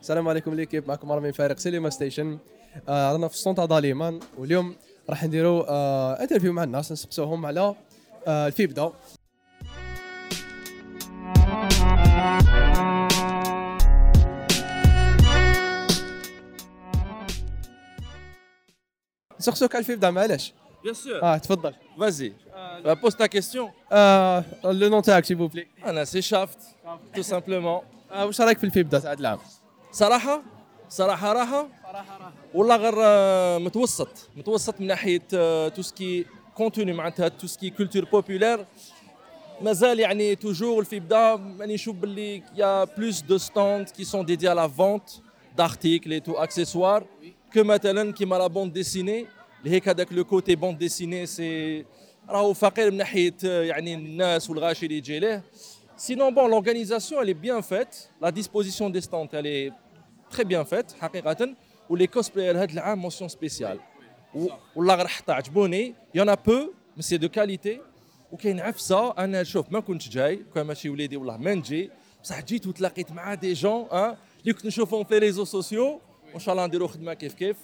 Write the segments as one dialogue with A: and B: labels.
A: السلام عليكم ليكيب معكم مرة من فارق سينما ستيشن آه رانا في السونطة ظاليمان واليوم راح نديرو آه انترفيو مع الناس نسقسوهم على آه الفيبدا نسقسوك على الفيبدا معلش
B: Bien sûr.
A: اه تفضل
B: Ah, Vas-y. Bah, pose ta question.
A: آه لو نون تاعك سيبو بلي
B: Anna, c'est Shaft, tout simplement.
A: آه واش رايك في الفيبدا تاع هاد العام
B: صراحة صراحة راحة والله غير آه، متوسط متوسط من ناحية تو سكي كونتوني معناتها تو سكي كولتور بوبولير مازال يعني توجور في بدا راني نشوف باللي يا بلوس دو ستاند كي سون ديدي لا فونت دارتيكل اي تو اكسيسوار كو مثلا كيما لا بوند ديسيني اللي هيك هذاك لو كوتي بوند ديسيني سي راهو فقير من ناحيه آه، يعني الناس والغاشي اللي يجي ليه Sinon, bon, l'organisation, elle est bien faite. La disposition des stands, elle est très bien faite, حقيقةً. Ou les cosplayers, هاد العام, mention spéciale. و- والله غير حتى عجبوني. Il y en a peu, mais c'est de qualité. وكاين عفسه انا شوف ما كنتش جاي كان ماشي وليدي والله ما نجي بصح جيت وتلاقيت مع دي جون اه اللي كنت نشوفهم في ريزو سوسيو وان شاء الله نديرو خدمه كيف كيف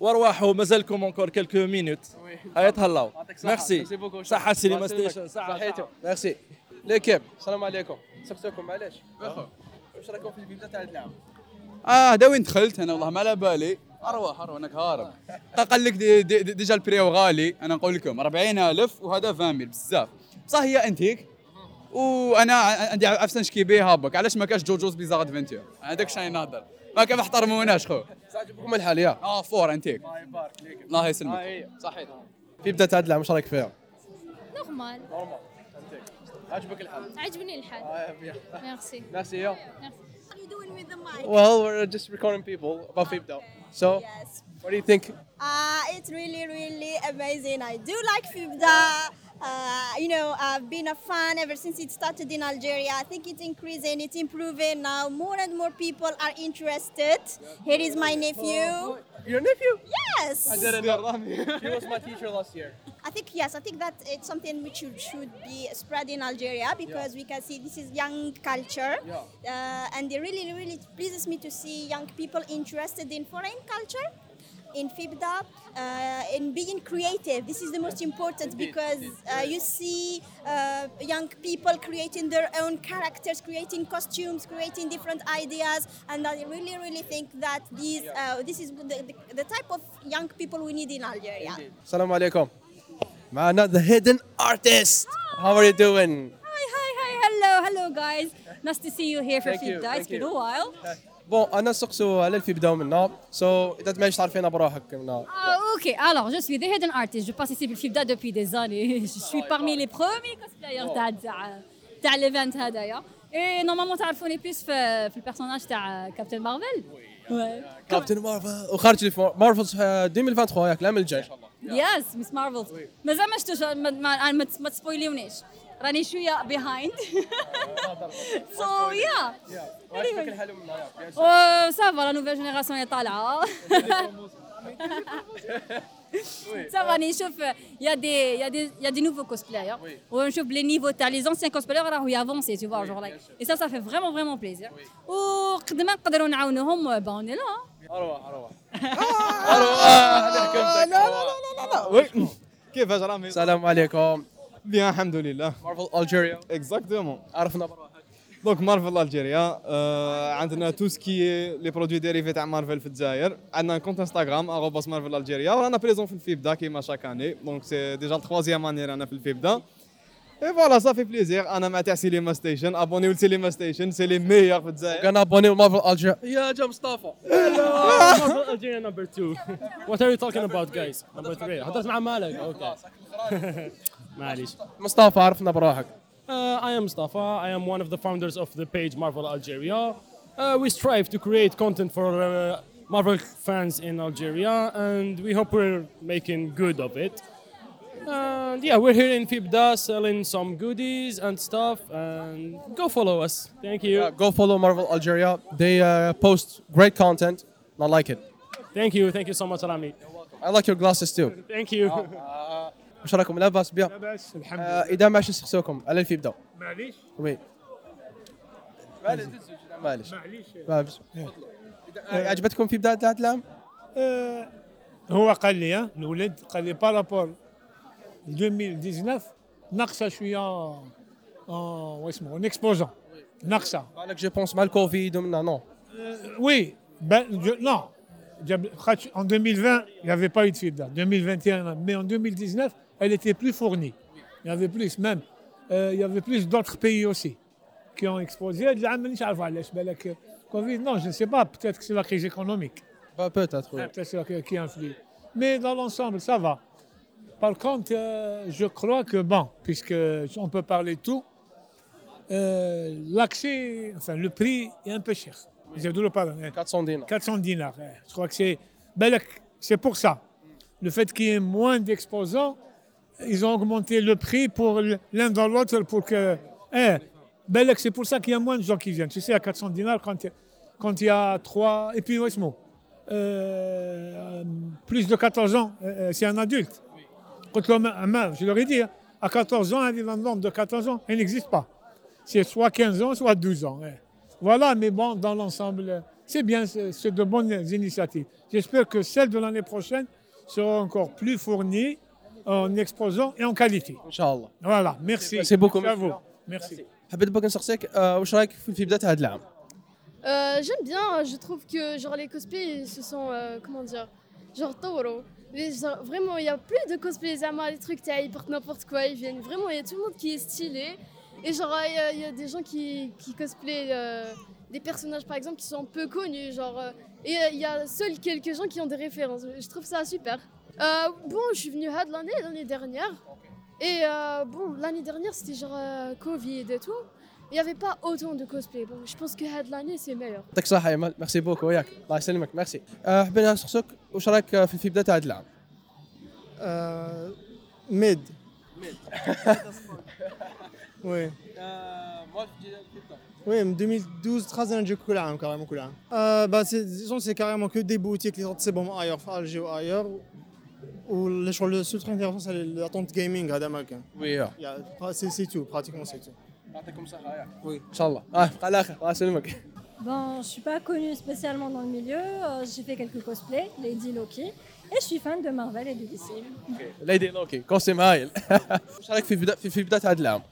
B: وارواحوا مازالكم encore quelques minutes هيا تهلاو ميرسي صحه سينما ستيشن صحه
A: صحيتو ميرسي ليكيب السلام عليكم سقسوكم معليش واش رايكم في الفيبدا تاع هاد العام
C: اه دا وين دخلت انا والله ما على بالي اروح اروح انك هارب قال لك دي- دي- دي- ديجا البريو غالي انا نقول لكم 40000 وهذا فاميل بزاف بصح هي انتيك وانا ع- عندي عفسه نشكي بيه هابك علاش ما كاش جوجوز بيزار ادفنتير انا داك الشيء نهضر ما كان ما احترموناش خو
A: عجبكم الحال يا
C: اه فور انتيك
A: الله يبارك ليك آه، إيه،
C: الله يسلمك
A: هي
C: صحيح
A: الفيبدا تاع هاد العام واش رايك فيها
D: نورمال
A: نورمال عجبك الحال آه،
D: عجبني الحال ميرسي
A: ناس هي
D: ميرسي
E: you doing with the mic?
A: Well, we're just recording people about Fibda. So,
E: Yes.
A: what do you think?
E: Uh, it's really, really amazing. I do like FIBDA. Uh, you know, I've been a fan ever since it started in Algeria. I think it's increasing, it's improving now. More and more people are interested. Here is my nephew.
A: Your nephew?
E: Yes.
A: He was my teacher last year.
E: I think yes. I think that it's something which should, should be spread in Algeria because we can see this is young culture,
A: Yeah.
E: uh, and it really, really pleases me to see young people interested in foreign culture, in FIBDA, uh, in being creative. This is the most important because uh, you see uh, young people creating their own characters, creating costumes, creating different ideas, and I really, really think that these uh, this is the, the, the type of young people we need in Algeria.
A: Salam alaikum. Ma'ana, the hidden artist. How are you doing?
F: Hi, hi, hi, hello, hello guys. Nice to see you here for
A: Thank you,
F: Fibda. It's
A: thank
F: been
A: you.
F: a while.
A: بون انا سقسو على الفيبدا منا سو اذا ما تعرفينا بروحك منا
F: Ah, ok, alors je suis the hidden artist. Je participe au FIBDA depuis des années. Je suis parmi les premiers cosplayers
A: Oh.
F: euh, تاع تاع تاع l'événement هذايا. euh, Et normalement, تعرفوني plus في في البيرسوناج تاع كابتن مارفل. euh, Ouais.
A: كابتن مارفل وخارج آه، لي مارفل 2023 ياك العام الجاي ان شاء الله
F: يس مس مارفل. مازال ما شفتوش ما- ما ما- ما تسبويليونيش. راني شويه بيهايند.
A: Oh,
F: سو يا
A: وعجبك الحال منا ياك
F: سافا لا نوفيل جينيراسيون هي طالعه سافا راني نشوف يا دي يا دي يا دي نوفو كوسبلاير ونشوف لي نيفو تاع لي زونسيان كوسبلاير راهو يافونسي تو فوا جور لايك اي سا سا في فريمون فريمون بليزير وقد ما نقدروا نعاونوهم بون لا
A: اروح اروح
G: كيفاش رامي؟
A: السلام عليكم
G: بيان الحمد لله
A: مارفل الجيريا
G: اكزاكتومون
A: عرفنا بروحك
G: دونك مارفل الجيريا آه عندنا تو سكي لي برودوي ديريفي تاع مارفل في الجزائر عندنا كونت انستغرام اروباس مارفل الجيريا ورانا بريزون في الفيبدا كيما شاك اني دونك سي ديجا التخوازيام اني رانا في الفيبدا اي فوالا صافي بليزير انا مع تاع سينما ستيشن ابوني لسينما ستيشن سي لي ميور في الجزائر
A: كان ابوني مارفل الجيريا يا جا مصطفى
H: Algeria uh, number two. What are you talking about, guys? Number three. هضرت مع مالك. Okay. معليش.
A: مصطفى عرفنا بروحك
H: Uh, I am Mustafa. I am one of the founders of the page Marvel Algeria. Uh, we strive to create content for uh, Marvel fans in Algeria, and we hope we're making good of it. And yeah, we're here in Fibda selling some goodies and stuff. And go follow us. Thank you.
A: Uh, go follow Marvel Algeria. They uh, post great content. I like it.
H: Thank you. Thank you so much, Rami.
A: I like your glasses too.
H: Thank you.
A: واش راكم لاباس بيان؟
H: بس الحمد
A: آه، اذا ما شي سقسوكم على الفيبدا.
H: معليش
A: وي. معليش معليش.
H: معليش إيه.
A: ما بس- عجبتكم في بدايه هذا العام؟
I: آه، هو قال لي ها، الولد قال لي بارابور 2019 ناقصه شويه آه، واسمه نيكسبوزون ناقصه
A: بالك جو بونس مع الكوفيد ومنها نو
I: Euh, Oui, ben, je- non. Diab- Khatch- En 2020, il n'y avait pas eu de FIBDA. 2021, mais en 2019, elle était plus fournie. Il y avait plus, même. euh, il y avait plus d'autres pays aussi qui ont exposé. De la même chose, voilà, je balais que Covid, non, je ne sais pas. Peut-être que c'est la crise économique.
A: بوتيتر
I: Peut-être que c'est la crise qui influe. Mais dans l'ensemble, ça va. Par contre, euh, je crois que, bon, puisqu'on peut parler de tout, euh, l'accès, enfin, le prix est un peu cher. J'ai dû le pardonner.
A: 400 دينار
I: 400 dinars. ouais. Je crois que c'est. Ben, le- c'est pour ça. Le fait qu'il y ait moins d'exposants, ils ont augmenté le prix pour l- l'un dans l'autre pour que. Eh, ben, le- c'est pour ça qu'il y a moins de gens qui viennent. Tu sais, à 400 dinars, quand, quand il y a trois. Et puis, ouais, ce mot. Euh, plus de 14 ans, euh, euh, c'est un adulte. Quand l'homme- un homme, Je leur ai dit, hein, à 14 ans, un vivant de 14 ans, il n'existe pas. C'est soit 15 ans, soit 12 ans. ouais. Voilà, mais bon, dans l'ensemble, euh, c'est bien, c'est c'est de bonnes initiatives. J'espère que celles de l'année prochaine seront encore plus fournies en exposant et en qualité.
A: ان شاء الله
I: Voilà, merci.
A: C'est beaucoup,
I: Merci à
A: monsieur.
I: vous. Merci.
A: حبيت برك نسقسيك آه، واش رايك في في بدايه هذا العام؟
J: Euh, J'aime bien, je trouve que genre, les cosplays ils se sont, euh, comment dire, genre Toro. Mais genre, vraiment, il n'y a plus de cosplays à moi, les trucs, t'as, ils portent n'importe quoi, ils viennent. Vraiment, il y a tout le monde qui est stylé. Et genre, il y a- il y, a des gens qui, qui cosplayent euh, des personnages, par exemple, qui sont peu connus. Genre, euh, et euh, il y a seuls quelques gens qui ont des références. Je trouve ça super. Euh, bon, je suis venue à de l'année, l'année dernière. Et euh, bon, l'année dernière, c'était genre euh, Covid et tout. Il n'y avait pas autant de cosplay. Bon, je pense que de l'année, c'est meilleur.
A: يعطيك الصحه يا مال ميرسي بوكو ياك الله يسلمك ميرسي آه، حبيت نسقسيك واش رايك آه، في في بدايه هذا العام؟
G: Euh, ميد وي Oui, en 2012, 13 ans, hein, j'ai coulé un carrément coulé un. Euh, bah, c'est, disons, c'est carrément que des boutiques, les autres, c'est bon ailleurs, enfin, Alger ou ailleurs. Ou les choses, le seul truc intéressant, c'est l'attente gaming à Damak.
A: وي آه.
G: Il y a- C'est, c'est tout, pratiquement, c'est tout.
A: يعطيكم الصحه ياك وي ان شاء الله اه على الاخر الله يسلمك
F: Bon, Ben, je suis pas connue spécialement dans le milieu. euh, J'ai fait quelques cosplays, Lady Loki, et je suis fan de Marvel et de DC.
A: ليدي لوكي كوستيم هايل واش رايك في بدا في في بدايه هذا العام؟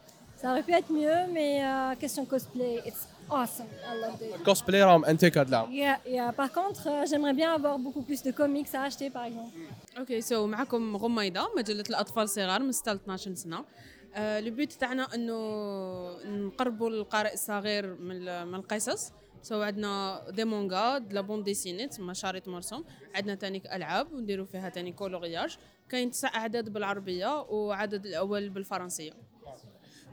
F: Ça aurait pu être mieux, mais euh, question cosplay, it's awesome. I love it.
A: الكوسبلاي راهم انتيك هذا العام
F: Yeah, yeah. Par contre, euh, j'aimerais bien avoir beaucoup plus de comics à acheter, par exemple.
E: اوكي سو معكم غميضه مجله الاطفال صغار من 6 ل 12 سنه آه، البيت تاعنا انه نقربوا القارئ الصغير من ال- من القصص سو عندنا دي مونغا د لا بون ديسيني تسمى شريط مرسوم عندنا تانيك العاب ونديروا فيها تاني كولورياج كاين تسع اعداد بالعربيه وعدد الاول بالفرنسيه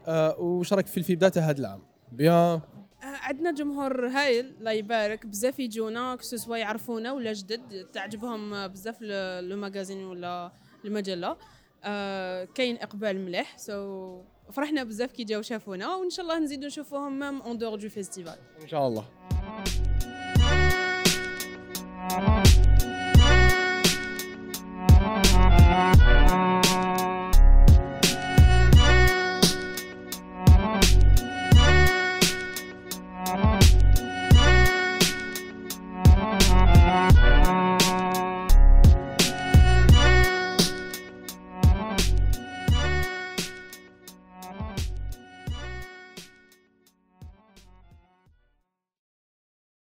A: آه، واش رايك في في بدايه هذا العام؟ بيان
E: آه، عندنا جمهور هايل الله يبارك بزاف يجونا كسوا يعرفونا ولا جدد تعجبهم آه، بزاف ل- لو ماغازين ولا المجله آه، كاين اقبال مليح سو فرحنا بزاف كي جاو شافونا وان شاء الله نزيدو نشوفوهم مام اون دور دو فيستيفال
A: ان شاء الله